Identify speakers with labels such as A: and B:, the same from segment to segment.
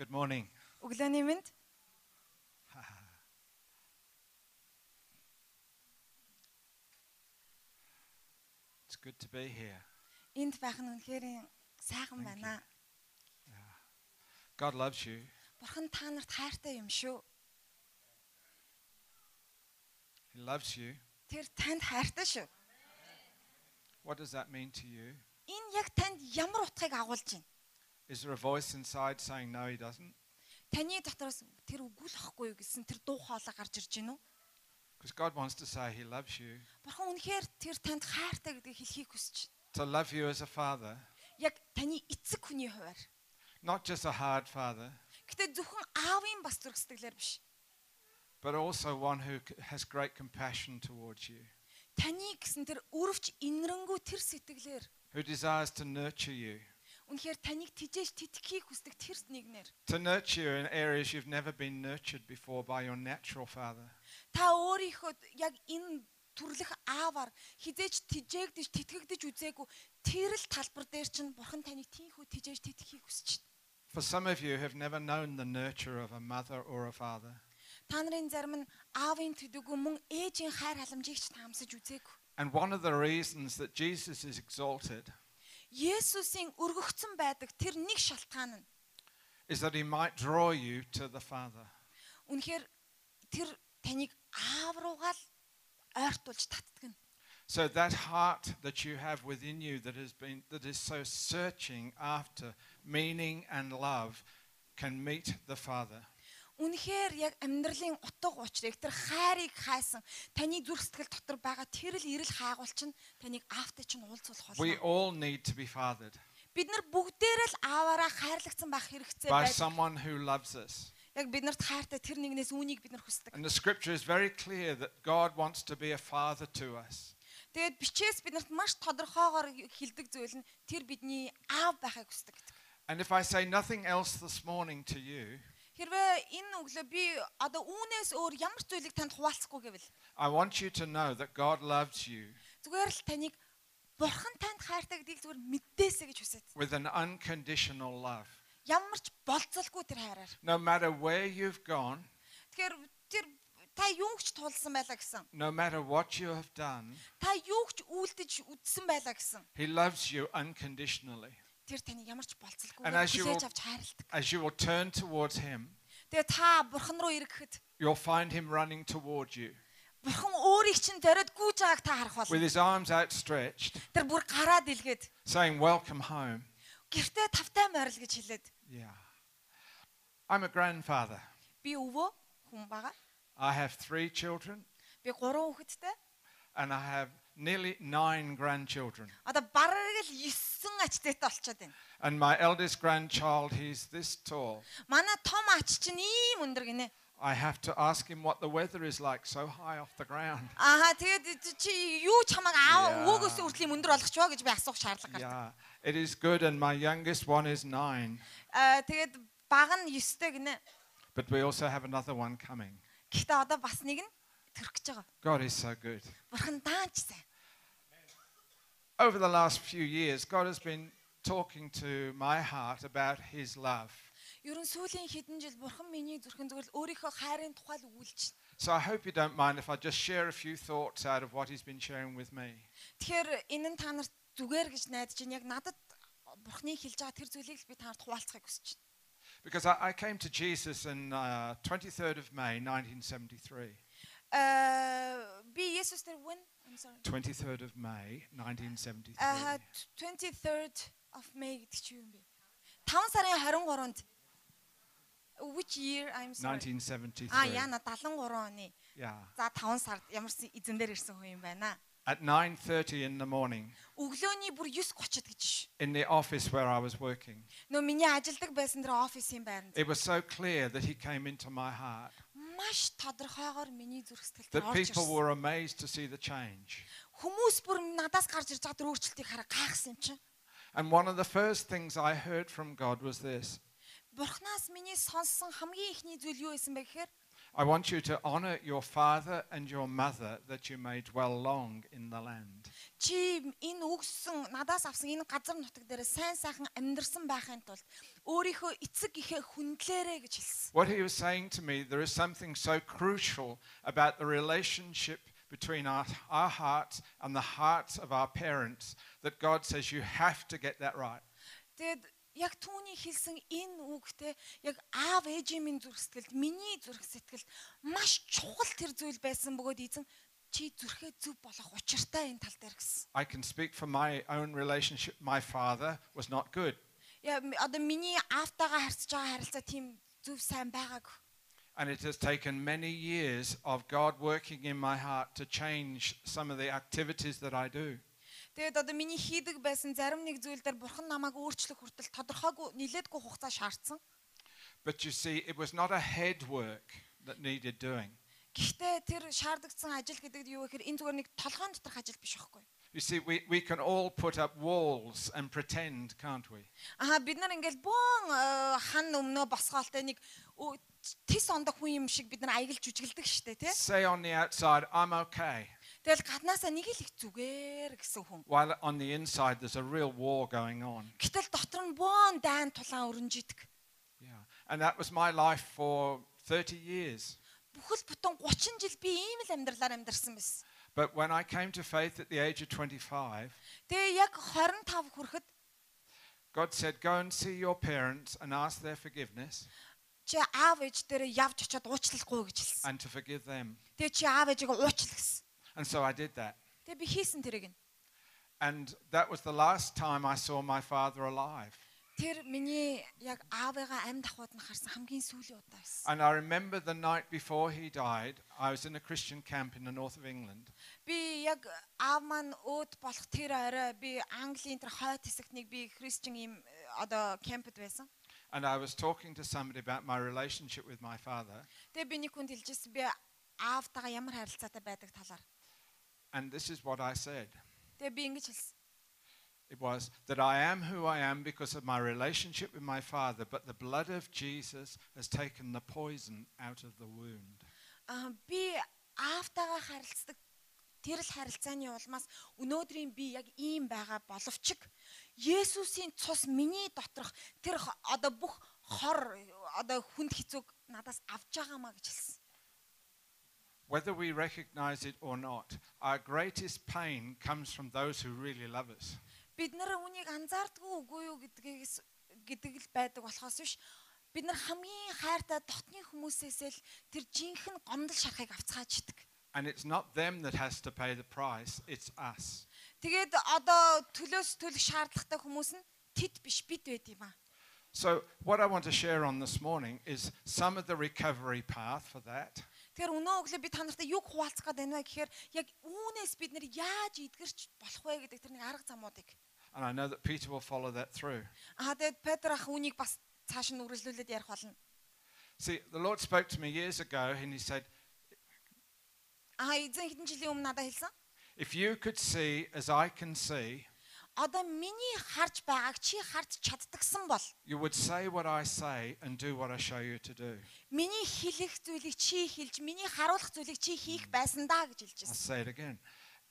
A: Good morning.
B: Өглөөний мэнд
A: It's good to be here.
B: энд байх нь үнэхээр сайхан байна.
A: God loves you.
B: Бурхан та нарт хайртай юм шүү.
A: He loves you.
B: Тэр танд хайртай шүү.
A: What does that mean to you?
B: Энэ яг танд ямар утгыг агуулж байна?
A: Is there a voice inside saying, No, he doesn't?
B: Таны дотроос тэр үгүй л ахгүй юу гэсэн тэр дуу хоолой гарч ирж гинүү.
A: Because God wants to say he loves you.
B: Бурхан үнэхээр тэр танд хайртай гэдгийг хэлхийг хүсэж байна.
A: To love you as a father,
B: Яг таны эцэг хүний хуваар.
A: not just a hard father,
B: Гэтэ зөвхөн аавын бас зүрхсэтгэлээр биш.
A: but also one who c- has great compassion towards you,
B: Таны гэсэн тэр өрөвч инрэнгүү тэр сэтгэлээр
A: who desires to nurture you,
B: үнэхээр таныг тижээж тэтгхийг хүсдэг тэр нэгнэр
A: to nurture you in areas you've never been nurtured before by your natural father.
B: та өөрийнхөө яг энэ төрлөх аавар хизээж тижээгдэж тэтгэгдэж үзээгүй тэр л талбар дээр чинь бурхан таныг тийхүү тижээж тэтгэхийг хүсэж байна.
A: For some of you have never known the nurture of a mother or a father,
B: Та нарын зарим нь аавын төдөгөө мөн ээжийн хайр халамжийг ч таамсаж үзээгүй.
A: and one of the reasons that Jesus is exalted
B: Есүсийн өргөгцөн байдаг тэр нэг шалтгаан нь
A: is that he might draw you to the Father.
B: үнэхээр тэр таныг аав руугаал ойртуулж татдаг нь.
A: So that heart that you have within you that has been that is so searching after meaning and love can meet the Father.
B: Үнэхээр яг амьдралын утга учирыг тэр хайрыг хайсан таны зүрх сэтгэл дотор байгаа тэр л ирэл хайгуулч нь таныг аавтай чинь уулзуулах
A: We
B: болно.
A: all need to be fathered
B: Бид нар бүгдээрээ л ааваараа хайрлагдсан байх хэрэгцээ
A: by
B: байдаг.
A: someone who loves us.
B: Яг бид нарт хайртай тэр нэгнээс үүнийг бид нар хүсдэг.
A: And the scripture is very clear that God wants to be a father to us.
B: Тэгээд бичээс бид нарт маш тодорхойгоор хилдэг зүйл нь тэр бидний аав байхыг хүсдэг гэдэг.
A: And if I say nothing else this morning to you,
B: Хэрвээ энэ өглөө би одоо үүнээс өөр ямар ч зүйлийг танд хуваалцахгүй гэвэл
A: I want you to know that God loves you
B: зүгээр л таныг бурхан танд хайртай гэдгийг зүгээр мэддээсэ гэж хүсэж.
A: with an unconditional love.
B: Ямар ч болцолгүй тэр хайраар.
A: No matter where you've gone,
B: Тэгэхээр тэр та юугч тулсан байлаа гэсэн.
A: no matter what you have done,
B: Та юугч үйлдэж үдсэн байлаа гэсэн.
A: He loves you unconditionally.
B: Тэр таны ямар ч болцолгүй
A: And as you
B: хүлээж
A: will-
B: авч хайрладаг.
A: As you will turn towards Him,
B: Тэгээ та бурхан руу ирэхэд
A: you'll find Him running toward you
B: бурхан өөрийг чинь зориод гүйж байгааг та харах
A: with
B: болно.
A: His arms outstretched,
B: Тэр бүр гараа дэлгээд
A: saying, Welcome home.
B: гэртээ тавтай морил гэж хэлээд
A: Yeah. I'm a grandfather.
B: би өвөө хүн байгаа.
A: I have three children
B: Би гурван хүүхэдтэй.
A: and I have nearly nine grandchildren.
B: Одоо бараг л 9 ачтайтай болчиход байна.
A: And my eldest grandchild, he's this tall.
B: Манай том ач чинь ийм өндөр гинэ.
A: I have to ask him what the weather is like so high off the ground.
B: Аа тэгээд чи юу ч хамаагүй
A: Яа.
B: аа өвөөгөөс үртлийн өндөр болгоч ёо гэж би асуух шаардлага гардаг.
A: Yeah, it is good. And my youngest one is nine,
B: Аа, тэгээд баг нь 9-тэй гинэ.
A: but we also have another one coming.
B: Гэхдээ одоо бас нэг нь төрөх гэж байгаа.
A: God is so good.
B: Бурхан даанч сайн.
A: Over the last few years, God has been talking to my heart about His love.
B: Ер нь сүүлийн хэдэн жил бурхан миний зүрхэн зүгээр л өөрийнхөө хайрын тухай л өгүүлж.
A: So I hope you don't mind if I just share a few thoughts out of what He's been sharing with me.
B: Тэгэхээр энэ нь та нарт зүгээр гэж найдаж байна. Яг надад бурханы хэлж байгаа тэр зүйлийг л би та нарт хуваалцахыг хүсэж байна.
A: Because I, I came to Jesus on uh, 23rd of May, 1973.
B: Аа, би Есүс тэр when I'm sorry.
A: 23rd of May, 1973.
B: Аа, 23rd of May гэдэг чи юу юм бэ? 5 сарын 23-нд which year I'm sorry.
A: 1973.
B: А яна 73 оны.
A: Yeah.
B: За 5 сард ямар ч эзэн дээр ирсэн хүн юм байна.
A: At 9:30 in the morning
B: Өглөөний бүр 9:30-д гэж ш.
A: in the office where I was working.
B: Нөө миний ажилдаг байсан тэр офисын байранд.
A: It was so clear that he came into my heart
B: Маш тодорхойгоор миний зүрх сэтгэлд
A: that
B: орж
A: people
B: ирсэн.
A: were amazed to see the change.
B: Хүмүүс бүр надаас гарч ирж байгаа тэр өөрчлөлтийг хараа гайхсан юм чинь.
A: And one of the first things I heard from God was this.
B: Бурханаас миний сонссон хамгийн ихний зүйл юу байсан бэ гэхээр
A: I want you to honor your father and your mother that you may dwell long in the land.
B: чи энэ өгсөн надаас авсан энэ газар нутаг дээр сайн сайхан амьдарсан байхын тулд өөрийнхөө эцэг гихээ хүндлээрэ гэж хэлсэн.
A: What he was saying to me, there is something so crucial about the relationship between our, our hearts and the hearts of our parents that God says you have to get that right.
B: Тэгэд яг түүний хэлсэн энэ үгтэй яг аав ээжийн минь зүрх сэтгэлд миний зүрх сэтгэлд маш чухал тэр зүйл байсан бөгөөд эзэн чи зүрхээ зөв болох учиртай энэ тал дээр гэсэн.
A: I can speak for my own relationship. My father was not good.
B: Яа м- одоо миний аавтайгаа харьцаж байгаа харилцаа тийм зөв сайн байгааг.
A: And it has taken many years of God working in my heart to change some of the activities that I do.
B: Тэгэд одоо миний хийдэг байсан зарим нэг зүйл дээр бурхан намайг өөрчлөх хүртэл тодорхойгүй нилээдгүй хугацаа шаардсан.
A: But you see, it was not a head work that needed doing.
B: Гэхдээ тэр шаардагдсан ажил гэдэг нь юу гэхээр энэ зүгээр нэг толгойн доторх ажил биш байхгүй.
A: You see, we, we can all put up walls and pretend, can't we?
B: Аа бид нар ингээл бөөн э, хан өмнөө босгоолтой нэг ө- тис ондох хүн юм шиг бид нар аяглж үжгэлдэг штэ тий.
A: Say on the outside, I'm okay,
B: Тэгэл гаднаасаа нэг л их зүгээр гэсэн хүн.
A: while on the inside there's a real war going on.
B: Гэтэл дотор нь бөөн дайн тулаан өрнжидэг.
A: Yeah. And that was my life for 30 years.
B: Бүхэл бүтэн 30 жил би ийм л амьдралаар амьдарсан байсан.
A: But when I came to faith at the age of 25,
B: Тэгээ яг 25 хүрэхэд
A: God said, Go and see your parents and ask their forgiveness
B: чи аав ээж дээрээ явж очиод уучлахгүй гэж хэлсэн.
A: and to forgive them.
B: Тэгээ чи аав ээжийг уучл гэсэн.
A: And so I did that.
B: Тэгээ би хийсэн тэрийг нь.
A: And that was the last time I saw my father alive.
B: Тэр миний яг аавыгаа амьд ахууд нь харсан хамгийн сүүлийн удаа байсан.
A: And I remember the night before he died, I was in a Christian camp in the north of England.
B: Би яг аав маань өөд болох тэр орой би Английн тэр хойд хэсэгт нэг би христчин ийм э, одоо кемпэд байсан.
A: And I was talking to somebody about my relationship with my father.
B: Тэгээ би нэг хүнд хэлжсэн би аавтайгаа ямар харилцаатай байдаг талаар.
A: And this is what I said
B: Тэгээ би ингэж хэлсэн.
A: it was that I am who I am because of my relationship with my father, but the blood of Jesus has taken the poison out of the wound.
B: Аа би аавтайгаа харилцдаг тэр л харилцааны улмаас өнөөдрийн би яг ийм байгаа боловч Есүсийн цус миний доторх тэр х- одоо бүх хор одоо хүнд хизүүг надаас авч байгаамаа гэж хэлсэн.
A: Whether we recognize it or not, our greatest pain comes from those who really love us.
B: Бид нар үнийг анзаардгүй үгүй юу гэдгээс гэдэг л байдаг болохоос биш бид нар хамгийн хайртай дотны хүмүүсээс л тэр жинхэнэ гомдол шарахыг авцгааж идэг.
A: And it's not them that has to pay the price, it's us.
B: Тэгээд одоо төлөөс төлөх шаардлагатай хүмүүс нь тэд биш бид байд юм аа.
A: So, what I want to share on this morning is some of the recovery path for that.
B: Тэгэхээр өнөө өглөө би та нартай юг хуваалцах гээд байна вэ гэхээр яг үүнээс бид нар яаж эдгэрч болох вэ гэдэг тэр нэг арга замуудыг.
A: And I know that Peter will follow that through.
B: Аа тэгээд Петр ах үүнийг бас цааш нь үргэлжлүүлээд ярих болно.
A: See, the Lord spoke to me years ago and he said,
B: Аа эзэн хэдэн жилийн өмнө надад хэлсэн.
A: If you could see as I can see,
B: Одоо миний харж байгааг чи харж чаддагсан бол
A: you would say what I say and do what I show you to do.
B: миний хэлэх зүйлийг чи хэлж миний харуулах зүйлийг чи хийх байсан даа гэж хэлж
A: I'll
B: байсан.
A: say it again.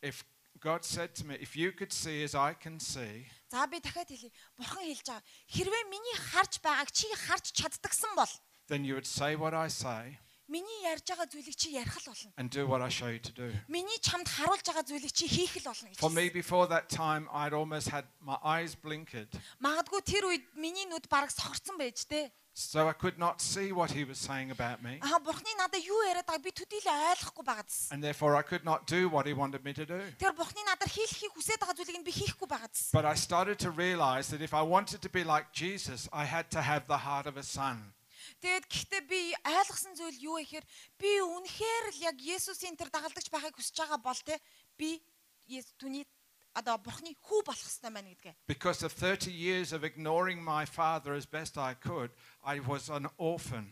A: If God said to me, If you could see as I can see,
B: За би дахиад хэлье. Бурхан хэлж байгаа. Хэрвээ миний харж байгааг чи харж чаддагсан бол
A: then you would say what I say
B: миний ярьж байгаа зүйлийг чи ярих л болно.
A: and do what I show you to do.
B: Миний чамд харуулж байгаа зүйлийг чи хийх л болно гэж.
A: For me,
B: хэлсэн.
A: before that time, I'd almost had my eyes blinkered,
B: Магадгүй тэр үед миний нүд бараг сохорсон байж тээ.
A: so I could not see what he was saying about me,
B: Аа бурхны надад юу яриад байгааг би төдийлөө ойлгохгүй байгаад байсан.
A: and therefore I could not do what he wanted me to do.
B: Тэр бурхны надад хийлхийг хүсээд байгаа зүйлийг нь би хийхгүй байгаад байсан.
A: But I started to realize that if I wanted to be like Jesus, I had to have the heart of a son.
B: Тэгээд гэхдээ би ойлгосон зүйл юу вэ гэхээр би үнэхээр л яг Есүсийн тэр дагалдагч байхыг хүсэж байгаа бол тээ би Есүс түүний одоо бурхны хүү болох хэрэгтэй байна гэдгээ.
A: Because of 30 years of ignoring my father as best I could, I was an orphan.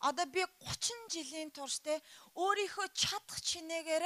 B: Одоо би 30 жилийн турш те өөрийнхөө чадах чинээгээр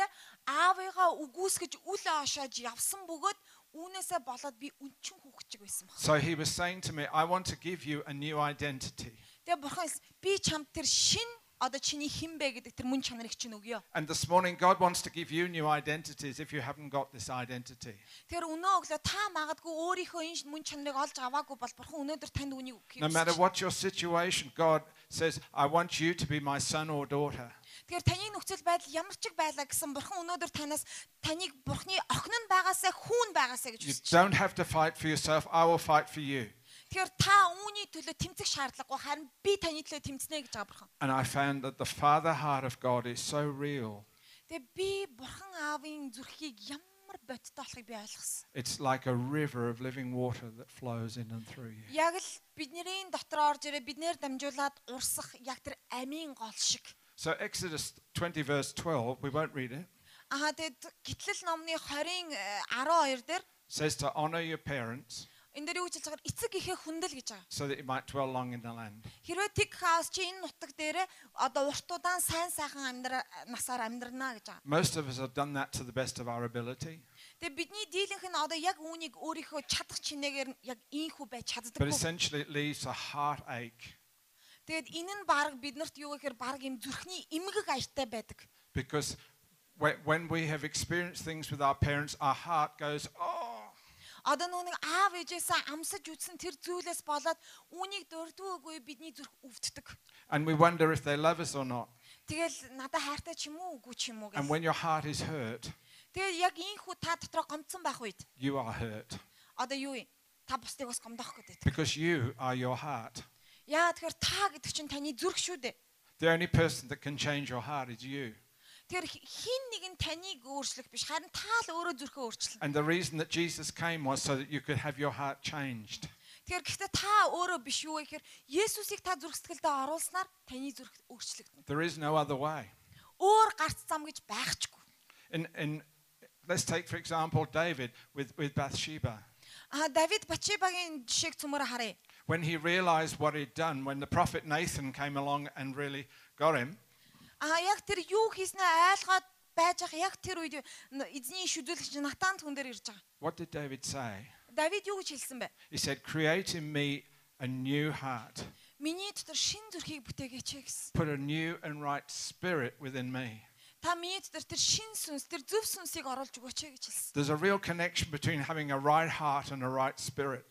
B: аавыгаа үгүйсгэж үл оошоож явсан бөгөөд үүнээсээ болоод би өнчин хүүхчиг байсан баг.
A: So he was saying to me, I want to give you a new identity.
B: Тэгээ бурхан хэлсэн, би чамд тэр шин одоо чиний хин бэ гэдэг тэр мөн чанарыг чинь өгөө.
A: And this morning, God wants to give you new identities if you haven't got this identity.
B: Тэгэхээр өнөө өглөө та магадгүй өөрийнхөө энэ мөн чанарыг олж аваагүй бол бурхан өнөөдөр танд үнийг өгөх
A: No matter
B: юм.
A: what your situation, God says, I want you to be my son or daughter.
B: Тэгэхээр таны нөхцөл байдал ямар ч их байлаа гэсэн бурхан өнөөдөр танаас таныг бурхны охин нь байгаасаа хүүн байгаасаа гэж
A: You
B: хүсэж байна.
A: don't have to fight for yourself, I will fight for you.
B: Тэгэхээр та үүний төлөө тэмцэх шаардлагагүй харин би таны төлөө тэмцэнэ гэж байгаа бурхан.
A: And I found that the Father heart of God is so real.
B: Тэгээ би бурхан аавын зүрхийг ямар бодтой болохыг би ойлгосон.
A: It's like a river of living water that flows in and through you.
B: Яг л бидний дотор орж ирээ биднэр дамжуулаад урсах яг тэр амийн гол шиг.
A: So, Exodus 20, verse 12, we won't read it,
B: Аа тэгэд гитлэл номны 20-ын э, 12 дээр
A: says to honor your parents
B: энэ дээр юу гэж хэлж байгаа эцэг ихээ хүндэл гэж байгаа.
A: so that you might dwell long in the land.
B: Хэрвээ тиг хаос чи энэ нутаг дээрээ одоо урт удаан сайн сайхан амьдра насаар амьдрнаа гэж байгаа.
A: Most of us have done that to the best of our ability,
B: Тэгээ бидний дийлэнх нь одоо яг үүнийг өөрийнхөө чадах чинээгээр нь яг ийхүү бай
A: but
B: чаддаггүй.
A: essentially it leaves a heartache
B: Тэгээд энэ нь баг биднэрт юу гэхээр баг юм зүрхний эмгэг аяртай байдаг.
A: because whe- when we have experienced things with our parents, our heart goes, oh,
B: Одоо нүг аав ээжээсээ амсаж үтсэн тэр зүйлээс болоод үүнийг дурдгүйгүй бидний зүрх өвддөг.
A: and we wonder if they love us or not.
B: Тэгэл надад хайртай ч юм уу үгүй ч юм уу
A: And
B: гэж.
A: when your heart is hurt,
B: Тэгэл яг ийхүү та дотроо гомцсон байх үед
A: you are hurt
B: одоо юу юм? Та бусдыг бас гомдоох гэдэг.
A: because you are your heart.
B: Яа тэгэхээр та гэдэг чинь таны зүрх шүү дээ.
A: The only person that can change your heart is you.
B: Тэгэхээр хи- хин нэг нь таныг өөрчлөх биш харин та л өөрөө зүрхөө өөрчлөн.
A: And the reason that Jesus came was so that you could have your heart changed.
B: Тэгэхээр гэхдээ та өөрөө биш юу вэ гэхээр Есүсийг та зүрх сэтгэлдээ оруулснаар таны зүрх өөрчлөгдөн.
A: There is no other way.
B: Өөр гарц зам гэж байхчгүй.
A: In, in, let's take, for example, David with, with Bathsheba.
B: Аа Давид Батшебагийн жишээг цөмөр харъя.
A: When he realized what he'd done, when the prophet Nathan came along and really got him,
B: Аа яг тэр юу хийснээ ойлгоод байж ах яг тэр үед н- эзний шүдүүлэгч Натан түн дээр ирж байгаа.
A: what did David say?
B: Давид юу гэж хэлсэн бэ?
A: He said, Create in me a new heart,
B: Миний дотор шин зүрхийг бүтээгээч ээ гэсэн.
A: put a new and right spirit within me.
B: Та миний дотор тэр шин сүнс, тэр зөв сүнсийг оруулж өгөөч ээ гэж хэлсэн.
A: There's a real connection between having a right heart and a right spirit.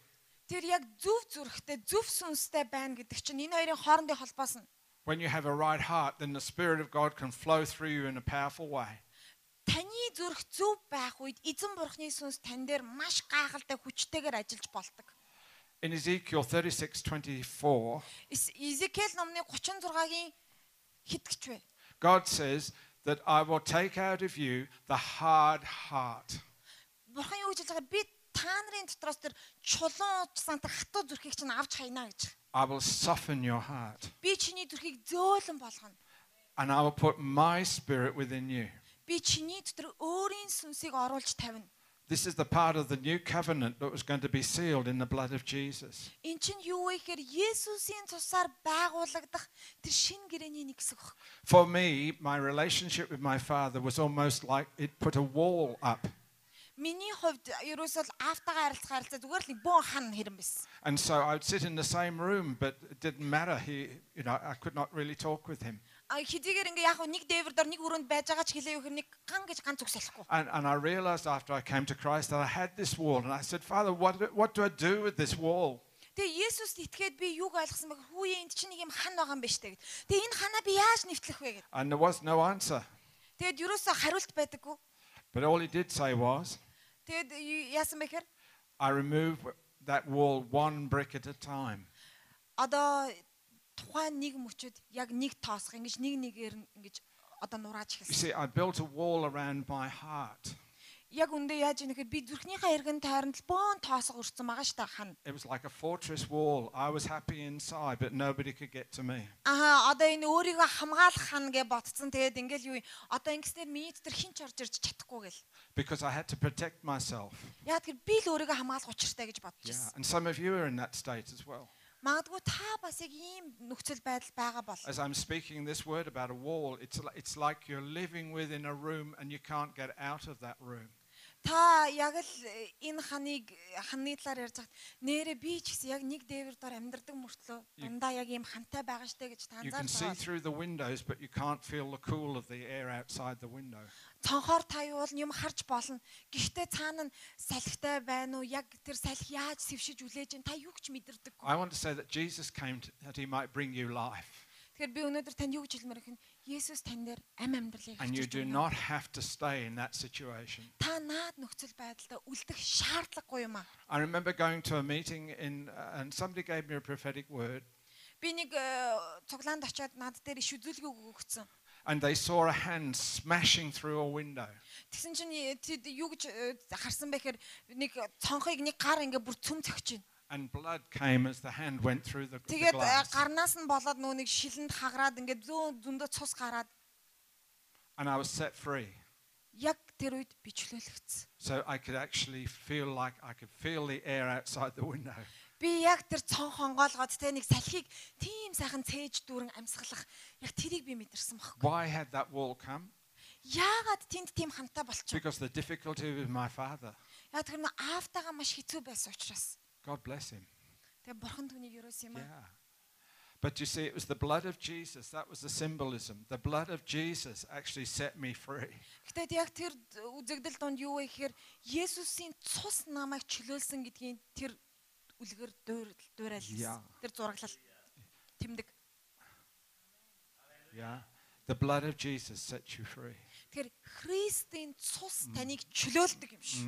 B: Тэр яг зөв зүрхтэй, зөв сүнстэй байна гэдэг чинь энэ хоёрын хоорондын холбоос нь
A: When you have a right heart, then the Spirit of God can flow through you in a powerful way.
B: таны зүрх зөв байх үед эзэн бурхны сүнс тань дээр маш гайхалтай хүчтэйгээр ажиллаж бол ตก.
A: In Ezekiel 36 24,
B: Изекэл номны 36-гийн хитгэж вэ?
A: God says that I will take out of you the hard heart.
B: Бурхан юу гэж хэлж байгаа би та нарын дотроос тэр чулуун уучсан тэр хатуу зүрхийг чинь авч хайна гэж.
A: I will soften your heart,
B: Би чиний зүрхийг зөөлөн болгоно.
A: and I will put my spirit within you.
B: Би чиний дотор өөрийн сүнсийг оруулж тавина.
A: This is the part of the new covenant that was going to be sealed in the blood of Jesus.
B: Эн чинь юу вэ гэхээр Есүсийн цусаар байгуулагдах тэр шин гэрээний нэг хэсэг баг.
A: For me, my relationship with my father was almost like it put a wall up.
B: Миний хувьд ерөөсөө л аавтайгаа харилцах харилцаа зүгээр л нэг бөөн хан хэрэм байсан.
A: And so I would sit in the same room, but it didn't matter. He, you know, I could not really talk with him.
B: А хэдийгээр ингээ яг хөө нэг дээвэр дор нэг өрөөнд байж байгаа ч хэлээ юу хэр нэг ган гэж ганц үгсэлэхгүй.
A: And, and I realized after I came to Christ that I had this wall. And I said, Father, what, do- what do I do with this wall?
B: Тэгээ Есүст итгээд би юг ойлгосон бэ? Хүүе энд чинь нэг юм хан байгаа юм ба штэ гэд. Тэгээ энэ ханаа би яаж нэвтлэх вэ гэд.
A: And there was no answer.
B: Тэгээд юроосо хариулт байдаггүй.
A: But all he did say was,
B: Тэгээд ю- яасан бэ хэр?
A: I remove that wall one brick at a time.
B: Одоо тухайн нэг мөчөд яг нэг тоосох ингэж нэг нэгээр нь ингэж одоо нурааж
A: You
B: эхэлсэн.
A: see, I built a wall around my heart.
B: Яг үндэ яаж ийм гэхээр би зүрхнийхээ эргэн тойронд л боон тоосох өрцөн байгаа штэ хан.
A: It was like a fortress wall. I was happy inside, but nobody could get to me.
B: Аа одоо энэ өөрийгөө хамгаалах хан гэж бодцсон. Тэгээд ингээл юу юм? Одоо ингэснээр миний дотор хинч орж ирж чадахгүй гэл.
A: Because I had to protect myself.
B: Яг тэр би л өөрийгөө хамгаалах учиртай гэж бодож
A: Yeah.
B: ирсэн.
A: And some of you are in that state as well.
B: Магадгүй та бас яг ийм нөхцөл байдал байгаа бол
A: As I'm speaking this word about a wall, it's, li- it's like you're living within a room and you can't get out of that room.
B: Та яг л э, энэ ханыг ханы талаар ярьж хат нэрэ би ч гэсэн яг нэг дээвэр дор амьдардаг мөртлөө дундаа яг ийм хантай байгаа штэ гэж та
A: You can
B: анзаарч
A: see
B: байгаа.
A: through the windows, but you can't feel the cool of the air outside the window.
B: Цонхоор та юу бол юм харж болно. Гэхдээ цаана нь салхитай байна уу? Яг тэр салхи яаж сэвшиж үлээж чинь та юу ч мэдэрдэг.
A: I want to say that Jesus came to, that he might bring you life.
B: Тэгэхээр би өнөөдөр танд юу гэж хэлмээр өгөх нь Есүс тань дээр ам амьдралыг
A: And you
B: авчирч
A: do
B: өгнө.
A: not have to stay in that situation.
B: та наад нөхцөл байдалтай үлдэх шаардлагагүй юм аа.
A: I remember going to a meeting in, uh, and somebody gave me a prophetic word,
B: Би нэг э, цуглаанд очиод над дээр иш үзүүлгийг өгөгдсөн.
A: and they saw a hand smashing through a window.
B: Тэгсэн чинь э, тэд юу гэж э, харсан бэ гэхээр нэг цонхыг нэг гар ингээ бүр цөм цогч байна.
A: And blood came as the hand went through the, the
B: Тэгээд э,
A: glass.
B: гарнаас нь болоод нөө нэг шилэнд хагараад ингээ зөө зөндөө цус гараад
A: And I was set free.
B: яг тэр үед би чөлөөлөгдсөн.
A: So I could actually feel like I could feel the air outside the window.
B: Би яг тэр цонх онгоолгоод те нэг салхийг тийм сайхан цээж дүүрэн амьсгалах яг тэрийг би мэдэрсэн баггүй.
A: Why had that wall come?
B: Яагаад тэнд тийм хантай болчих?
A: Because the difficulty with my father.
B: Яа тэр нөө аавтайгаа маш хэцүү байсан учраас.
A: God bless him.
B: Тэгээ бурхан түүнийг юусэн юм
A: Yeah.
B: аа?
A: But you see, it was the blood of Jesus. That was the symbolism. The blood of Jesus actually set me free.
B: Гэтэл яг тэр үзэгдэл донд юу вэ гэхээр Есүсийн цус намайг чөлөөлсөн гэдгийн тэр үлгэр дуурал дуурал
A: Яа.
B: тэр зураглал тэмдэг.
A: Yeah. The blood of Jesus sets you free.
B: Тэгэхээр Христийн цус таныг чөлөөлдөг юм шиг.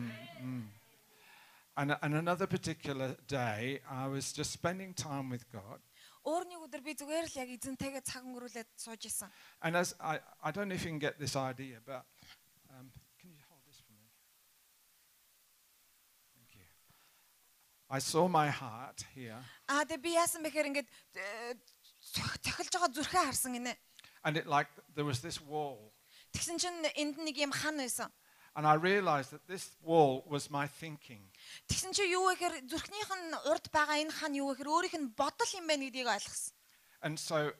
A: And, and another particular day, I was just spending time with God.
B: Өөр нэг өдөр би зүгээр л яг эзэнтэйгээ цаг өнгөрүүлээд сууж исэн.
A: And as I, I don't know if you can get this idea, but um, can you hold this for me? Thank you. I saw my heart here,
B: Аа тэгээ би яасан бэхээр ингээд э, цох- цохилж байгаа зүрхээ харсан гинэ.
A: and it like there was this wall,
B: Тэгсэн чинь энд нэг юм хан байсан.
A: and I realized that this wall was my thinking.
B: Тэгсэн чи юу вэ гэхээр зүрхнийх нь урд байгаа энэ хан юу вэ гэхээр өөрийнх нь бодол юм байна гэдгийг ойлгосон.
A: And so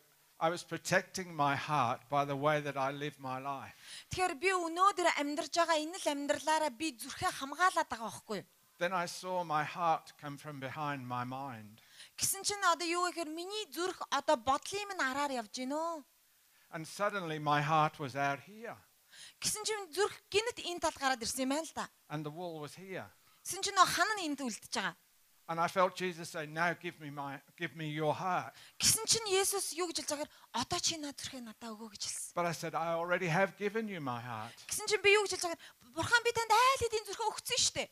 A: I was protecting my heart by the way that I live my life.
B: Тэгэхээр би өнөөдөр амьдарж байгаа энэ л амьдралаараа би зүрхээ хамгаалаад байгаа байхгүй юу?
A: Then I saw my heart come from behind my mind.
B: Гэсэн чинь одоо юу вэ гэхээр миний зүрх одоо бодлын минь араар явж гинөө.
A: And suddenly my heart was out here,
B: Гэсэн чинь зүрх гинт энэ тал гараад ирсэн юм байна л да.
A: and the wall was here.
B: Гэсэн чинь нөх хан нь энд үлдэж байгаа.
A: And I felt Jesus say, Now give me, my, give me your heart.
B: Гэсэн чинь Есүс юу гэж хэлж байгаа хэрэг одоо чи над зүрхээ надаа өгөө гэж хэлсэн.
A: But I said, I already have given you my heart.
B: Гэсэн чинь би юу гэж хэлж байгаа хэрэг бурхан би танд айл хэдийн зүрхээ өгсөн шүү дээ.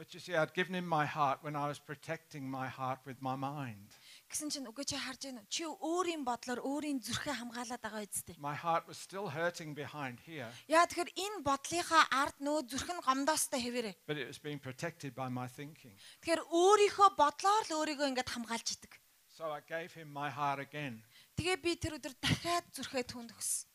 A: But you see, I'd given him my heart when I was protecting my heart with my mind.
B: Гэсэн чинь үгүй чи харж гинөө. Чи өөрийн бодлоор өөрийн зүрхээ хамгаалаад байгаа үст дээ.
A: My heart was still hurting behind here,
B: Яа тэгэхээр энэ бодлынхаа ард нөө зүрх нь гомдоостой хэвээрээ.
A: but it was being protected by my thinking.
B: Тэгэхээр өөрийнхөө бодлоор л өөрийгөө ингээд хамгаалж идэг.
A: So I gave him my heart again.
B: Тэгээ би тэр өдөр дахиад зүрхээ түнд өгсөн.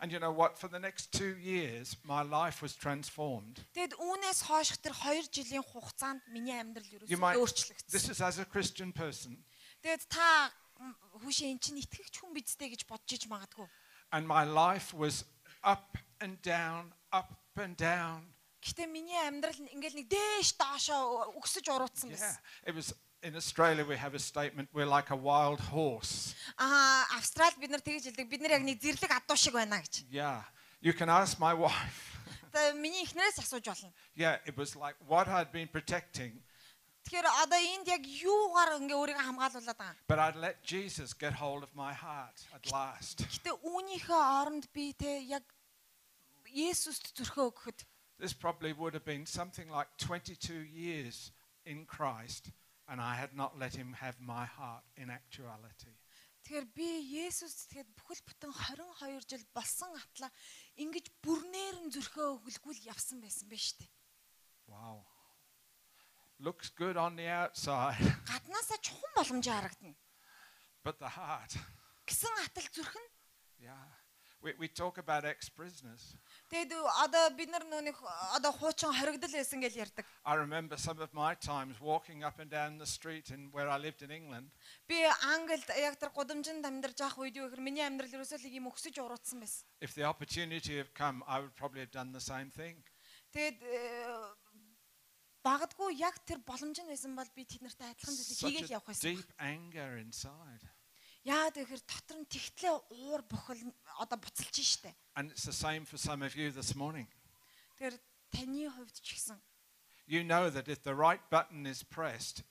A: And you know what? For the next two years, my life was transformed.
B: Тэгэд үүнээс хойш тэр 2 жилийн хугацаанд миний амьдрал юу
A: You might, this
B: өөрчлөгдсөн.
A: is as a Christian person,
B: Тэгэд та м, хүүшээ эн чинь итгэгч хүн бидтэй гэж бодож иж магадгүй.
A: and my life was up and down, up and down.
B: Гэхдээ миний амьдрал нь ингээд нэг дээш доошоо ö- өксөж урууцсан
A: Yeah.
B: байсан.
A: It was in Australia, we have a statement we're like a wild horse.
B: Аа, Австрал бид нар тэгж хэлдэг. Бид нар яг нэг зэрлэг адуу шиг байна гэж.
A: Yeah. You can ask my wife.
B: Тэ миний эхнэрээс асууж болно.
A: yeah, it was like what I'd been protecting,
B: Тэгэхээр одоо энд яг юугаар ингээ өөрийгөө хамгаалуулад байгаа юм?
A: but I'd let Jesus get hold of my heart at last.
B: Гэтэ үүнийхээ оронд би те яг Есүст зөрхөө өгөхөд
A: This probably would have been something like 22 years in Christ, and I had not let him have my heart in actuality.
B: тэгэхээр би Есүст тэгэхэд бүхэл бүтэн 22 жил болсон атла ингэж бүрнээр нь зөрхөө өгөлгүй л явсан байсан байна штэ.
A: Wow. Looks good on the outside,
B: Гаднаасаа чухам боломж харагдана.
A: but the heart,
B: Гэсэн атал зүрх нь
A: yeah. We, we talk about ex prisoners.
B: тэгэд одоо бид нар нүг одоо хуучин хоригдл байсан гэж ярьдаг.
A: I remember some of my times walking up and down the street in where I lived in England,
B: Би Англид яг тэр гудамжинд амьдарч байх үед юу гэхээр миний амьдрал ерөөсөө л ийм өксөж уруудсан байсан.
A: if the opportunity had come, I would probably have done the same thing.
B: Тэ Тэгээд э, багдгүй яг тэр боломж нь байсан бол би тэд нартай адилхан зүйлийг
A: Such
B: хийгээл
A: a
B: явах байсан.
A: deep anger inside.
B: Яа тэгэхээр дотор нь тэгтлээ уур бухал одоо буцалж штэ.
A: And it's the same for some of you this morning.
B: Тэгэхээр таны хувьд ч гэсэн
A: You know that if the right button is pressed,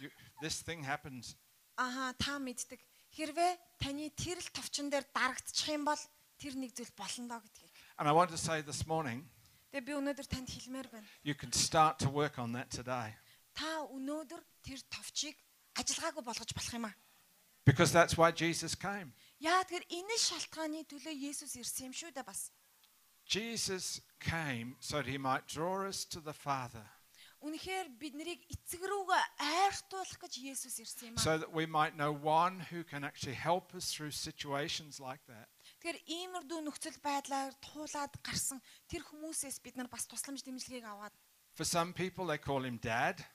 A: you, this thing happens.
B: Аха та мэддэг. Хэрвээ таны тэр л товчон дээр дарагдчих юм бол тэр нэг зүйл болно доо гэдгийг.
A: And I want to say this morning,
B: Тэгээ би өнөөдөр танд хэлмээр байна.
A: you can start to work on that today
B: Та өнөөдөр тэр товчийг ажиллагаагүй болгож болох юм аа.
A: because that's why Jesus came.
B: Яа тэгэхээр энэ шалтгааны төлөө Есүс ирсэн юм шүү дээ бас.
A: Jesus came so that he might draw us to the Father,
B: Үнэхээр бид нарыг эцэг рүүгээ айртуулах гэж Есүс ирсэн юм аа.
A: so that we might know one who can actually help us through situations like that.
B: Тэгэхээр иймэрдүү нөхцөл байдлаар туулаад гарсан тэр хүмүүсээс бид нар бас тусламж дэмжлэгийг аваад
A: For some people, they call him Dad.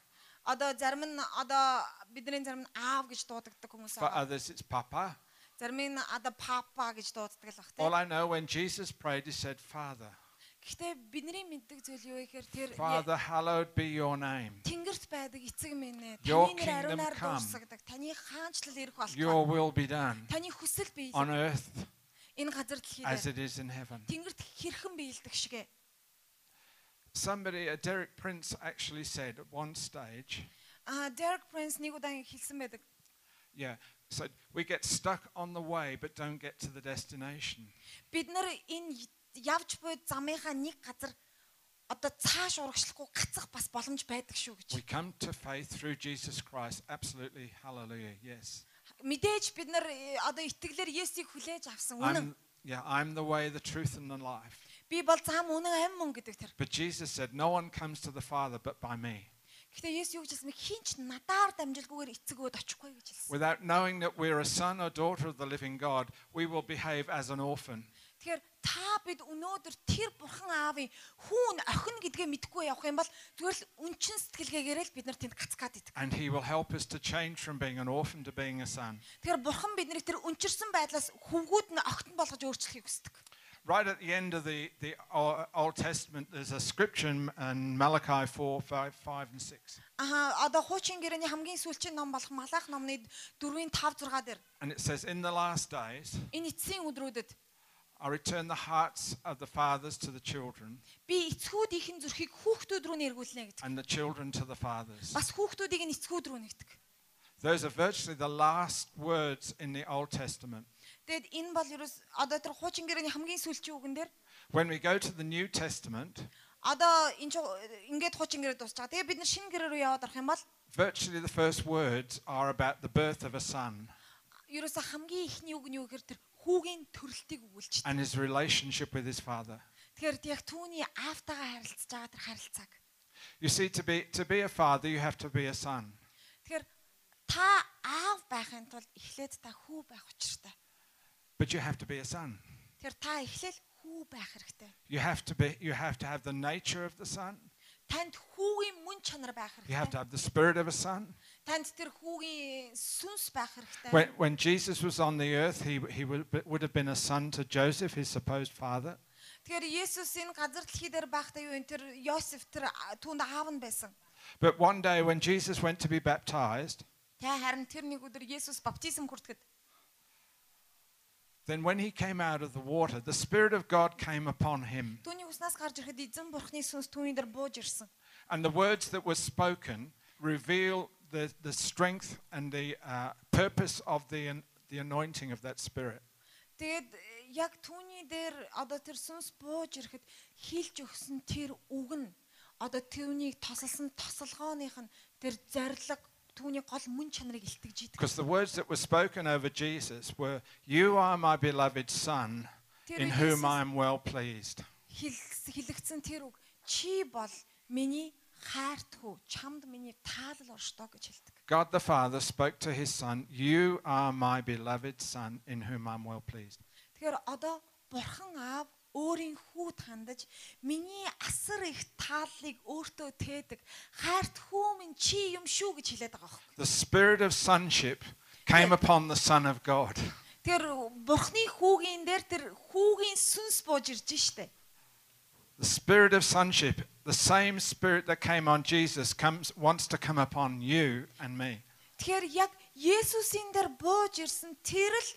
B: одоо зарим нь одоо бидний зарим нь аав гэж дуудагддаг хүмүүс
A: For
B: аа.
A: others, it's Papa.
B: Зарим нь одоо папа гэж дууддаг л бах
A: All
B: тийм.
A: I know when Jesus prayed, he said, Father,
B: Гэхдээ бидний мэддэг зүйл юу вэ гэхээр тэр
A: Father, hallowed be your name.
B: Тэнгэрт байдаг эцэг минь ээ.
A: Your
B: Таны нэр
A: kingdom
B: ариунаар
A: come.
B: дуусагдаг. Таны хаанчлал ирэх
A: Your
B: болтугай.
A: will be done
B: Таны хүсэл биелэх
A: on earth
B: энэ газар
A: as it
B: дэлхийд.
A: is in heaven.
B: Тэнгэрт хэрхэн биелдэг шигэ.
A: Somebody, uh, Derek Prince, actually said at one stage,
B: А Дерек Прэнс нэг удаан хэлсэн байдаг.
A: yeah, so we get stuck on the way but don't get to the destination.
B: Бид нар энэ явж буй замынхаа нэг газар одоо цааш урагшлахгүй гацах бас боломж байдаг шүү гэж.
A: We come to faith through Jesus Christ. Absolutely. Hallelujah. Yes.
B: Мэдээж бид нар э, одоо итгэлээр Есүсийг хүлээж авсан үнэн.
A: I'm, yeah, I'm the way, the truth, and the life.
B: Би бол зам үнэн амь мөн гэдэг тэр.
A: But Jesus said, No one comes to the Father but by me.
B: Гэхдээ Есүс юу гэж хэлсэн бэ? Хинч надаар дамжилгүйгээр эцэгөөд очихгүй гэж хэлсэн.
A: Without knowing that we're a son or daughter of the living God, we will behave as an orphan.
B: Тэгэхээр та бид өнөөдөр тэр бурхан аавын хүүн охин гэдгээ мэдгүй явах юм бол зүгээр л үнчин сэтгэлгээгээр л бид нар тэнд гацгаад идэх.
A: And He will help us to change from being an orphan to being a son.
B: Тэгэхээр бурхан биднийг тэр үнчирсэн байдлаас хөвгүүд нь огтон болгож өөрчлөхийг хүсдэг.
A: Right at the end of the, the O- Old Testament, there's a scripture in- in Malachi 4, 5, 5 and 6.
B: Аа одоо хуучин гэрээний хамгийн сүүлчийн ном болох Малах номны 4-ийн 5 6 дээр
A: And it says, In the last days,
B: энэ эцсийн өдрүүдэд
A: I return the hearts of the fathers to the children
B: би эцгүүдийнхэн зүрхийг хүүхдүүд рүү нэргүүлнэ гэдэг.
A: and the children to the fathers.
B: Бас хүүхдүүдийг нь эцгүүд рүү нэгдэг.
A: Those are virtually the last words in the Old Testament.
B: Тэгэд энэ бол ерөөс одоо тэр хуучин гэрээний хамгийн сүүлчийн үгэн дээр
A: When we go to the New Testament,
B: одоо энэ чинь ингээд хуучин гэрээ дуусчихаа. Тэгээ бид нар шинэ гэрээ рүү яваад орох юм бол
A: virtually the first words are about the birth of a son
B: ерөөсө хамгийн ихний үг нь юу гэхээр тэр хүүгийн төрөлтийг өгүүлж.
A: and his relationship with his father.
B: Тэгэхээр яг түүний аавтайгаа харилцаж байгаа тэр харилцааг.
A: You see, to be, to be a father, you have to be a son.
B: Тэгэхээр та аав байхын тулд эхлээд та хүү байх учиртай.
A: But you have to be a son.
B: Тэгэхээр та эхлээл хүү байх хэрэгтэй.
A: You have to, be, you have, to have the nature of the son,
B: Танд хүүгийн мөн чанар байх
A: you have to
B: хэрэгтэй.
A: have the spirit of a son.
B: Танд тэр хүүгийн сүнс байх хэрэгтэй.
A: When, when Jesus was on the earth, he, he would, would have been a son to Joseph, his supposed father.
B: Тэгэхээр Есүс энэ газар дэлхий дээр байхдаа юу энэ тэр Йосеф тэр а- түүнд аав нь байсан.
A: But one day when Jesus went to be baptized,
B: Тэ харин тэр нэг өдөр Есүс баптизм хүртгэд
A: Then when he came out of the water, the Spirit of God came upon him.
B: Түүний уснаас гарч ирэхэд эзэн бурхны сүнс түүний дээр бууж ирсэн.
A: And the words that were spoken reveal the, the strength and the uh, purpose of the, an- the anointing of that Spirit.
B: Тэгээд э, яг түүний дээр одоо тэр сүнс бууж ирэхэд хилж өгсөн тэр үг нь одоо түүнийг тосолсон тосолгооных нь тэр зориг түүний гол мөн чанарыг илтгэж идэг.
A: Because the words that were spoken over Jesus were, You are my beloved Son, in
B: Dear
A: whom I
B: Jesus.
A: am well pleased.
B: Хилс- Хилэгдсэн тэр үг чи бол миний хайртгүй чамд миний таалал оршдоо гэж хэлдэг.
A: God the Father spoke to his Son, You are my beloved Son, in whom I'm well pleased.
B: Тэгэхээр одоо бурхан аав өөрийн хүүд хандаж миний асар их тааллыг өөртөө тээдэг хайрт хүмүн чи юм шүү гэж хэлээд байгаа хөө.
A: The Spirit of sonship came
B: Yeah.
A: upon the Son of God.
B: Тэр бурхны хүүгийн дээр тэр хүүгийн сүнс бууж ирж штэ.
A: The spirit of sonship, the same spirit that came on Jesus, comes, wants to come upon you and me.
B: Тэгэхээр яг Есүсийн дээр бууж ирсэн тэр л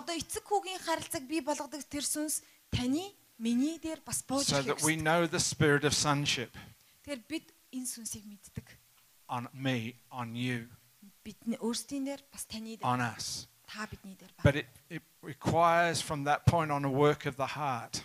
B: одоо эцэг хүүгийн харилцааг бий болгодог тэр сүнс таны миний дээр бас бууж
A: So
B: ирэх
A: that we
B: гэсэн.
A: know the spirit of sonship
B: Тэгэхээр бид энэ сүнсийг мэддэг.
A: on me, on you,
B: Бид нь өөрсдийн дээр бас таны дээр
A: on us.
B: та бидний дээр байна.
A: But it, it requires from that point on a work of the heart.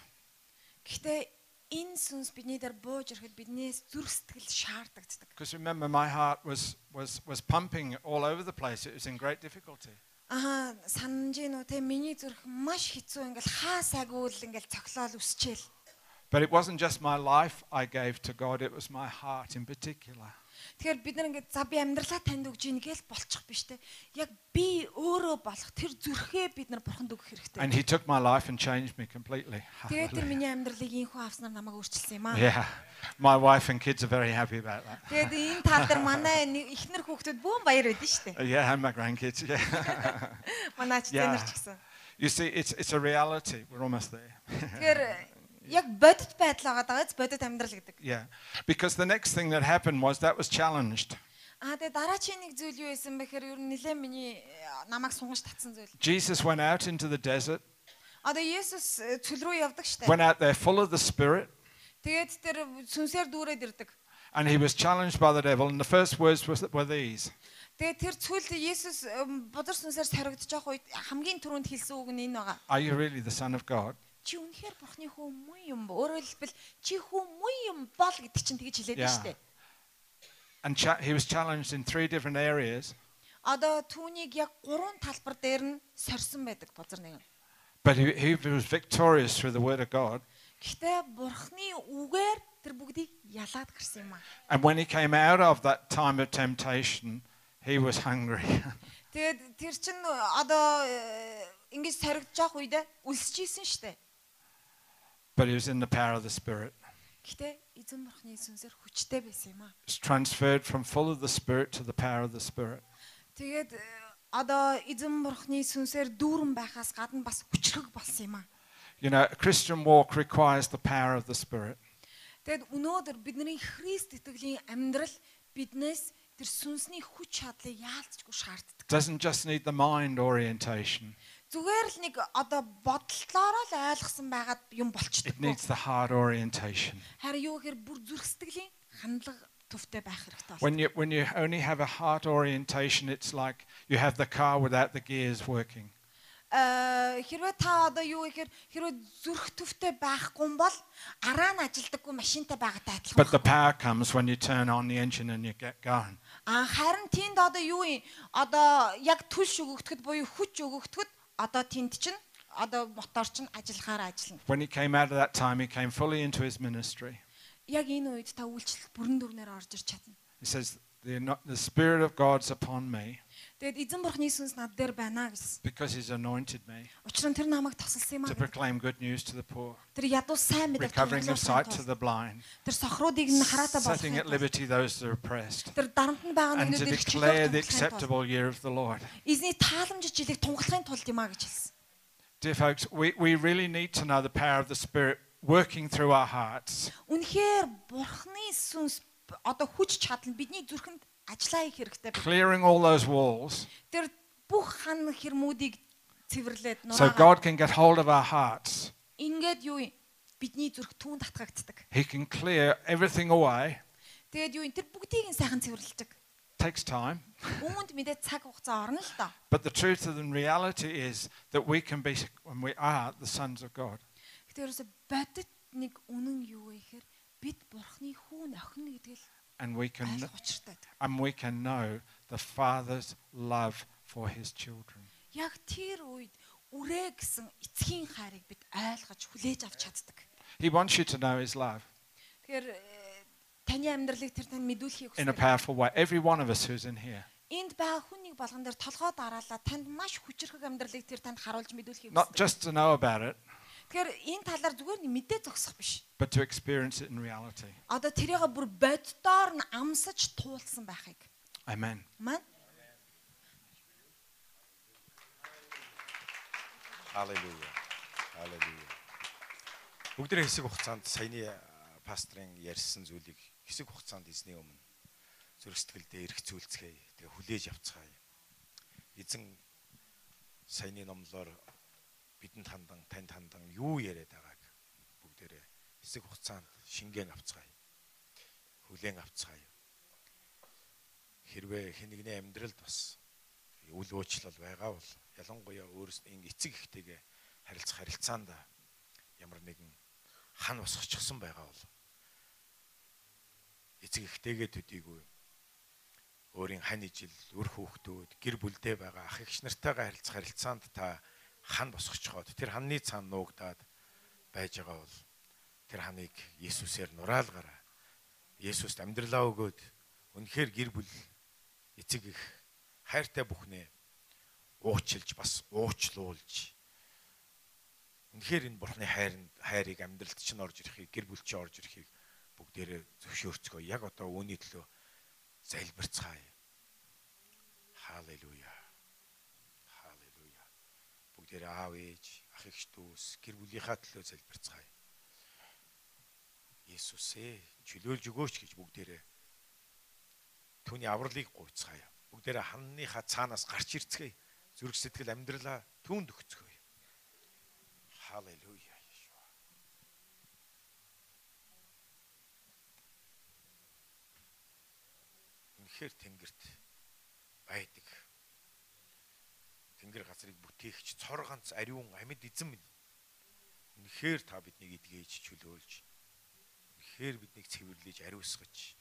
B: Гэхдээ энэ сүнс бидний дээр бууж ирэхэд биднээс зүрх сэтгэл шаардагддаг.
A: Because remember, my heart was, was, was pumping all over the place. It was in great difficulty.
B: Аа санаж гин үү те миний зүрх маш хэцүү ингээл хаа сайгүй л ингээл цоглол үсчээл.
A: But it wasn't just my life I gave to God, it was my heart in particular.
B: Тэгэхээр бид нар ингээд за би амьдралаа танд өгж ийн гээл болчих биш те. Яг би өөрөө болох тэр зүрхээ бид нар бурханд өгөх хэрэгтэй.
A: And He took my life and changed me completely.
B: Тэгээд
A: Hallelujah.
B: тэр миний амьдралыг инхүү авснаар намайг өөрчилсөн юм аа.
A: Yeah, my wife and kids are very happy about that.
B: Тэгээд энэ тал дээр манай нэг- эхнэр хүүхдүүд бүгэн баяр байдсан шүү дээ.
A: Uh, Yeah, and my grandkids. Yeah.
B: Манай ч
A: Yeah.
B: тэнэр ч гэсэн.
A: You see, it's, it's a reality. We're almost there.
B: Тэгэхээр яг бодит байдал байгаа даа бодит амьдрал гэдэг.
A: Yeah. Because the next thing that happened was that was challenged.
B: Аа тэгээд дараачийн нэг зүйл юу байсан бэ гэхээр ер нь нэлээд миний э, намайг сунгаж татсан зүйл.
A: Jesus went out into the desert,
B: Одоо Есүс э, цөл рүү явдаг штэ.
A: went out there full of the Spirit,
B: Тэгээд тэр сүнсээр дүүрээд ирдэг.
A: and he was challenged by the devil. And the first words was- were these
B: Тэгээд тэр цөл Есүс э, будар сүнсээр соригдчих үед хамгийн түрүүнд хэлсэн үг нь энэ байгаа.
A: Are you really the Son of God?
B: Чи үнэхээр Бурхны хүү муу юм бо. Өөрөөр хэлбэл чи хүү муу юм бол гэдэг чинь тэгж хэлээд
A: Яа.
B: штэ.
A: And cha- he was challenged in three different areas,
B: Одоо түүнийг яг гурван талбар дээр нь сорьсон байдаг бузар нэг. нь.
A: but he, he was victorious through the Word of God.
B: Гэхдээ Бурхны үгээр тэр бүгдийг ялаад гэрсэн юм аа.
A: And when he came out of that time of temptation, he was hungry.
B: Тэгээд тэр чин одоо э, ингэж соригдож явах үед үлсчихсэн штэ.
A: but he was in the power of the Spirit.
B: Гэхдээ эзэн бурхны сүнсээр хүчтэй байсан юм аа.
A: It's transferred from full of the Spirit to the power of the Spirit.
B: Тэгээд э, одоо эзэн бурхны сүнсээр дүүрэн байхаас гадна бас хүчрэг болсон юм аа.
A: You know, a Christian walk requires the power of the Spirit.
B: Тэгээд өнөөдөр бидний Христ итгэлийн амьдрал биднээс тэр сүнсний хүч чадлыг яалцчгүй шаарддаг.
A: doesn't just need the mind orientation,
B: Зүгээр л нэг одоо бодлолоороо л ойлгосон байгаад юм болчдөг.
A: it needs the heart orientation.
B: Харин юу гэхээр бүр зүрх сэтгэлийн хандлага төвтэй байх хэрэгтэй бол.
A: When you, when you only have a heart orientation, it's like you have the car without the gears working.
B: Э, хэрвээ та одоо юу гэхээр хэрвээ зүрх төвтэй байхгүй юм бол араа нь ажилдаггүй машинтай байгатай адилхан.
A: But the power comes when you turn on the engine and you get going.
B: А харин тэнд одоо юу юм? Одоо яг төлш өгөгдөхөд буюу хүч өгөгдөхөд одоо тэнд чинь одоо мотор чинь ажиллахаар ажиллана.
A: When he came out of that time, he came fully into his ministry.
B: Яг энэ үед та үйлчлэл бүрэн дүрнээр орж ир чадна.
A: He says, the, ano- the Spirit of God's upon me
B: Тэгэд эзэн бурхны сүнс над дээр байна гэсэн.
A: because he's anointed me
B: Учир нь тэр намайг тосолсон юм аа.
A: to
B: гэдэг.
A: proclaim good news to the poor,
B: Тэр ядуу сайн мэдээ
A: recovering of sight to the blind,
B: тэр сохруудыг нь хараатай
A: setting at
B: болгох.
A: liberty those that are oppressed,
B: Тэр дарамт нь байгаа
A: and to
B: нүдэд
A: declare the
B: ирчихсэн.
A: acceptable year of the Lord.
B: Эзний тааламж жилийг тунгалахын тулд юм а гэж хэлсэн.
A: Dear folks, we, we really need to know the power of the Spirit working through our hearts.
B: Үнэхээр бурхны сүнс б- одоо хүч чадал нь бидний зүрхэнд ажиллаа хийх хэрэгтэй.
A: Clearing all those walls
B: Тэр бүх хан хэрмүүдийг цэвэрлээд
A: so
B: нураагаад
A: God can get hold of our hearts.
B: ингээд юу юм бидний зүрх түн татгагддаг.
A: He can clear everything away.
B: Тэгээд юу юм тэр бүгдийг нь сайхан цэвэрлдэг.
A: Takes time.
B: Үүнд мэдээ цаг хугацаа орно л доо.
A: But the truth and reality is that we can be, when we are, the sons of God.
B: Гэтэ ерөөсө бодит нэг үнэн юу вэ гэхээр бид бурхны хүүн охин гэдэг л
A: And we can,
B: айлх учиртай.
A: and we can know the Father's love for his children.
B: Яг тэр үед үрээ гэсэн эцгийн хайрыг бид ойлгож хүлээж авч чаддаг.
A: He wants you to know his love
B: Тэгэхээр э, таны амьдралыг тэр танд мэдүүлэхийг
A: in a
B: хүсдэг.
A: powerful way. Every one of us who's in here.
B: Энд байгаа хүн нэг болгон дээр толгой дараалаа танд маш хүчрэх амьдралыг тэр танд харуулж мэдүүлэхийг
A: Not
B: хүсдэг.
A: just to know about it,
B: Тэгэхээр энэ талаар зүгээр нэг мэдээ зогсох биш.
A: but to experience it in reality.
B: Одоо тэрийг бүр боддоор нь амсаж туулсан байхыг.
A: Amen.
B: Маань
C: Халелуя. Халелуя. Бүгдэрэг хэсэг хугацаанд саяны пастрын ярьсан зүйлийг хэсэг хугацаанд эзний өмнө зүрх сэтгэлдээ эргцүүлцгээе. Тэгээ хүлээж авцгаая. Эзэн саяны номлоор бидэнд хандан танд хандан юу яриад байгааг бүгдээрээ хэсэг хугацаанд шингэн авцгаая. Хүлээн авцгаая. Хэрвээ хэнэгний амьдралд бас үл уучлал байгаа бол ялангуяа өөрсдөө ингэ эцэг ихтэйгээ харилцах харилцаанд ямар нэгэн хан босгочихсон байгаа бол эцэг ихтэйгээ төдийгүй өөрийн хань ижил, үр хүүхдүүд, гэр бүлдээ байгаа ах эгч нартайгаа харилцах харилцаанд та хан босгочхоод тэр ханны цаан нуугдаад байж байгаа бол тэр ханыг Есүсээр нураалгараа. Есүст амьдралаа өгөөд үнэхээр гэр бүл эцэг их хайртай бүхнээ уучлж бас уучлуулж үнэхээр энэ бурхны хайранд хайрыг амьдралд чинь орж ирэхийг гэр бүл чинь орж ирэхийг бүгдээрээ зөвшөөрцгөө. Яг одоо үүний төлөө залбирцгаая. Халелуя. Халелуя. Бүгдээрээ аав ээж, ах эгч дүүс, гэр бүлийнхаа төлөө залбирцгаая. Есүс ээ, чөлөөлж өгөөч гэж бүгдээрээ түүний авралыг гуйцгаая. Бүгдээрээ ханныхаа цаанаас гарч ирцгээе. Зүрх сэтгэл амьдралаа түүнд өгцгөөе. Халелуя. Йешуа. Үнэхээр Тэнгэрт байдаг. Тэнгэр газрыг бүтээгч цор ганц ариун амьд эзэн минь. Үнэхээр та биднийг эдгээж чөлөөлж. Үнэхээр биднийг цэвэрлэж ариусгаж.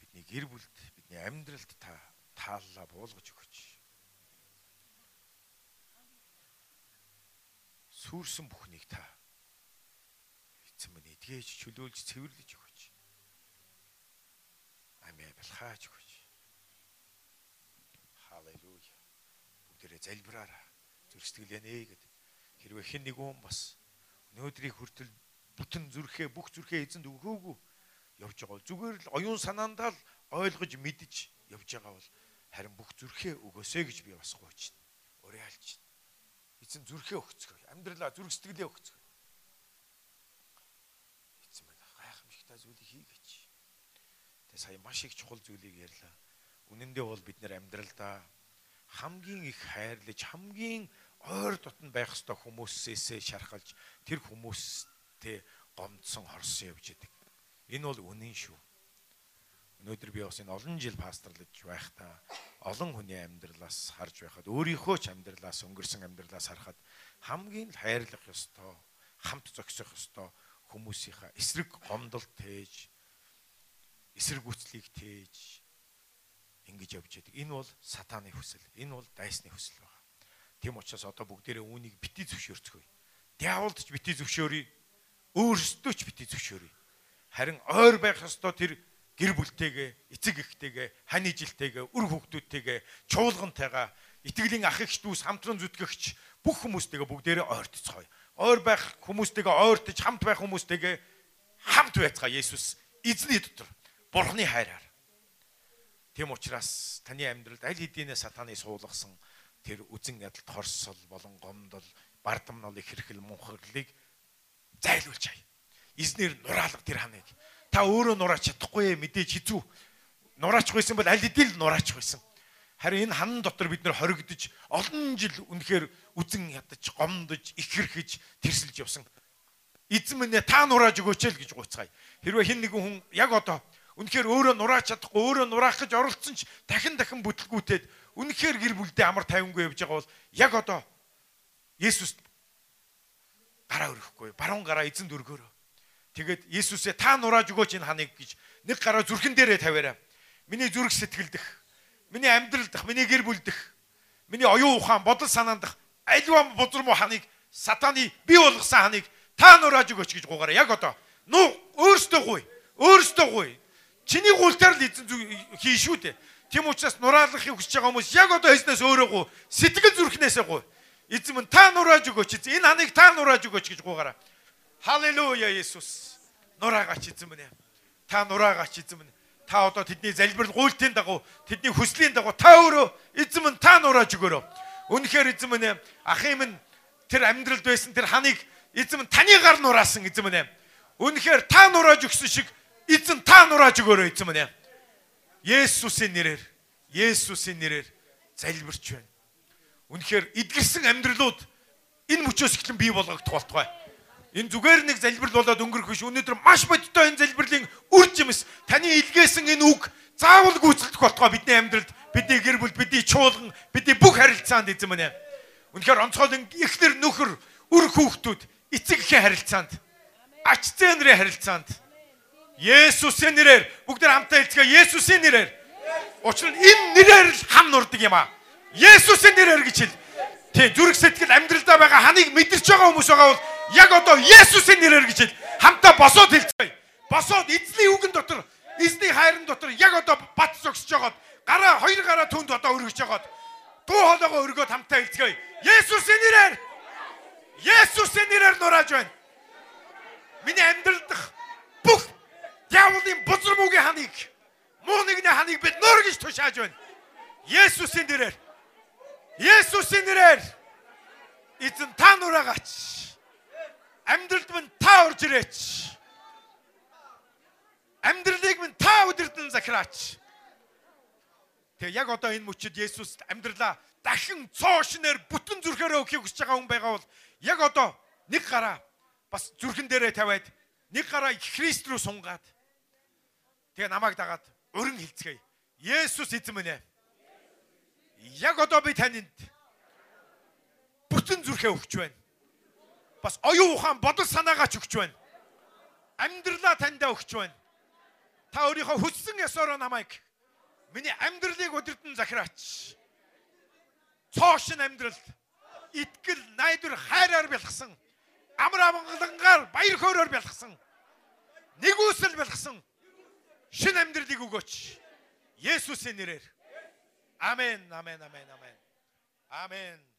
C: Бидний гэр бүлд, бидний амьдралд та тааллаа буулгаж өгөөч. Сүрсэн бүхнийг та эцэн минь эдгээж чөлөөлж цэвэрлэж өгөөч. Амиа бэлхаач өгөөч. Халелуя. Бүгдээрээ залбираараа зүрстгэлэнэ гэд. Хэрвээ хэн нэг хүн бас өнөөдрийг хүртэл бүтэн зүрхээ бүх зүрхээ эзэнд өгөөгүй явж байгаа бол зүгээр л оюун санаандаа л ойлгож мэдж явж байгаа бол харин бүх зүрхээ өгөөсэй гэж би бас гуйж байна. Уриалж байна. Эцэн зүрхээ өгцгөө. Амьдралаа зүрх сэтгэлээ өгцгөө. Эцэн минь гайхамшигтай зүйлийг хийгээч. Тэгээ сая маш их чухал зүйлийг ярьлаа. Үнэн дээр бол бид нэр амьдралдаа хамгийн их хайрлаж, хамгийн ойр дотн байх ёстой хүмүүсээсээ шархалж тэр хүмүүстэй гомдсон хорсон явж идэг. Энэ бол үнэн шүү. Өнөөдөр би бас энэ олон жил пастрлаж байхдаа олон хүний амьдралаас харж байхад өөрийнхөө ч амьдралаас өнгөрсөн амьдралаас харахад хамгийн л хайрлах ёстой, хамт зогсох ёстой хүмүүсийнхаа эсрэг гомдолт тээж, эсрэг үслийг тээж ингэж явж яадаг. Энэ бол сатааны хүсэл. Энэ бол дайсны хүсэл байна. Тэм учраас одоо бүгдээрээ үүнийг бити зөвшөөрцгөө. Диаволд ч бити зөвшөөрье. Өөрсдөө ч бити зөвшөөрье. Харин ойр байх ёстой тэр гэр бүлтэйгээ, эцэг эхтэйгээ, хань ижилтэйгээ, үр хүүхдүүдтэйгээ, чуулгантайгаа, итгэлийн ах эгч дүүс, хамтран зүтгэгч бүх хүмүүстэйгээ бүгдээрээ ойртцгоё. Ойр байх хүмүүстэйгээ ойртож, хамт байх хүмүүстэйгээ хамт байцгаа Есүс эзний дотор Бурхны хайраар. Тэм учраас таны амьдралд аль хэдийнэ сатананы суулгасан тэр үзэн ядалт хорсол болон гомдол, бардамнал их хэрхэл мунхарлыг зайлуулж хай. Эзнэр нураалга тэр ханыг та өөрөө нураач чадахгүй мэдээж хэцүү. Нураач байсан бол аль хэдийн л нураач байсан. Харин энэ хан дотор бид нэр хоригдож олон жил үнэхээр үзэн ядаж, гомдож, ихэрхэж, тэрсэлж явсан. Эзэн минь ээ, та нурааж өгөөч л гэж гуйцгаая. Хэрвээ хэн нэгэн хүн яг одоо үнэхээр өөрөө нураач чадахгүй, өөрөө нураах гэж оролцсон ч дахин дахин бүтлгүүтээд үнэхээр гэр бүлдээ амар тайвангүй явж байгаа бол яг одоо Есүс гараа өрөхгүй, баруун гараа эзэн дөргөөрөө. Тэгээд Есүсээ та нурааж өгөөч энэ ханыг гэж нэг гараа зүрхэн дээрээ тавиараа. Миний зүрх сэтгэлдэх, миний амьдралдах, миний гэр бүлдэх, миний оюун ухаан, бодол санаандах альва бузармуу ханыг сатаны бий болгосон ханыг та нурааж өгөөч гэж гугаараа. Яг одоо нуу өөртөө гуй, өөртөө гуй. Чиний гуйлтаар л эзэн зү- хийн шүү дээ. Тим учраас нураалахыг хүсэж байгаа хүмүүс яг одоо хийснээс өөрөө гуй, сэтгэл зүрхнээсээ гуй. Эзэн минь та нурааж өгөөч, эзэн энэ ханыг та нурааж өгөөч гэж гугаараа. Халелуя Есүс. Нураагач эзэн минь ээ. Та нураагач эзэн минь. Та одоо тэдний залбирал гуйлтын дагуу, тэдний хүслийн дагуу та өөрөө эзэн минь та нурааж өгөөрөө. Үнэхээр эзэн минь ээ, ахын минь тэр амьдралд байсан тэр ханыг эзэн минь таны гар нураасан эзэн минь ээ. Үнэхээр та нурааж өгсөн шиг эзэн та нурааж өгөөрэй эзэн минь. ээ. Есүсийн нэрээр Есүсийн нэрээр залбирч байна. Үнэхээр эдгэрсэн амьдралууд энэ мөчөөс эхлэн бий болгогдох болтугай. Энэ зүгээр нэг залбирал болоод өнгөрөх биш. Өнөөдөр маш бодиттой энэ залбирлын үр жимс таны илгээсэн энэ үг заавал гүйцэлдэх болтугай бидний амьдралд, бидний гэр бүл, бидний чуулган, бидний бүх харилцаанд эзэн минь. ээ. Үнэхээр онцгой ихнэр нөхөр, үр хүүхдүүд эцэг эхийн харилцаанд, ач зээ нэрийн харилцаанд Есүсийн нэрээр бүгд нэг хамтаа хэлцгээе Есүсийн нэрээр. Учир нь энэ нэрээр л хам нурдаг юм аа. Есүсийн нэрээр гэж хэл. Тийм зүрх сэтгэл амьдралдаа байгаа ханийг мэдэрч байгаа хүмүүс байгаа бол яг одоо Есүсийн нэрээр гэж хэл. Хамтаа босоод хэлцгээе. Босоод эзний үгэн дотор, эзний хайрын дотор яг одоо бат зогсож байгаад гараа хоёр гараа түнд одоо өргөж байгаад дуу хоолойгоо өргөөд хамтаа хэлцгээе. Есүсийн нэрээр. Есүсийн нэрээр нурааж байна. Миний амьдрал дах бүх диаволын бузар мөгийн ханыг муу нэгний ханыг бид нөр гэж тушааж байна. Есүсийн нэрээр. Есүсийн нэрээр. Эзэн та нураагач. Амьдралд минь та орж ирээч. Амьдралыг минь та өдөрдөн захираач. Тэгээ яг одоо энэ мөчөд Есүс амьдралаа дахин цоошнэр бүтэн зүрхээрээ өгөхийг хүсэж байгаа хүн байгаа бол яг одоо нэг гараа бас зүрхэн дээрээ тавиад нэг гараа Христ рүү сунгаад тэгээ намайг дагаад өрн хилцгээе. Есүс эзэн минь ээ. Яг одоо би таньд бүтэн зүрхээ өгч байна. Бас оюун ухаан бодол санаагаа ч өгч байна. Амьдралаа таньдаа өгч байна. Та өөрийнхөө хүссэн ёсороо намайг миний амьдралыг өдөртөн захираач. Цоошин амьдрал итгэл найдвар хайраар бэлгсэн амар амгалангаар баяр хөөрөөр бэлгсэн нэгүсэл бэлгсэн шин амьдралыг өгөөч Есүсийн нэрээр амен амен амен амен амен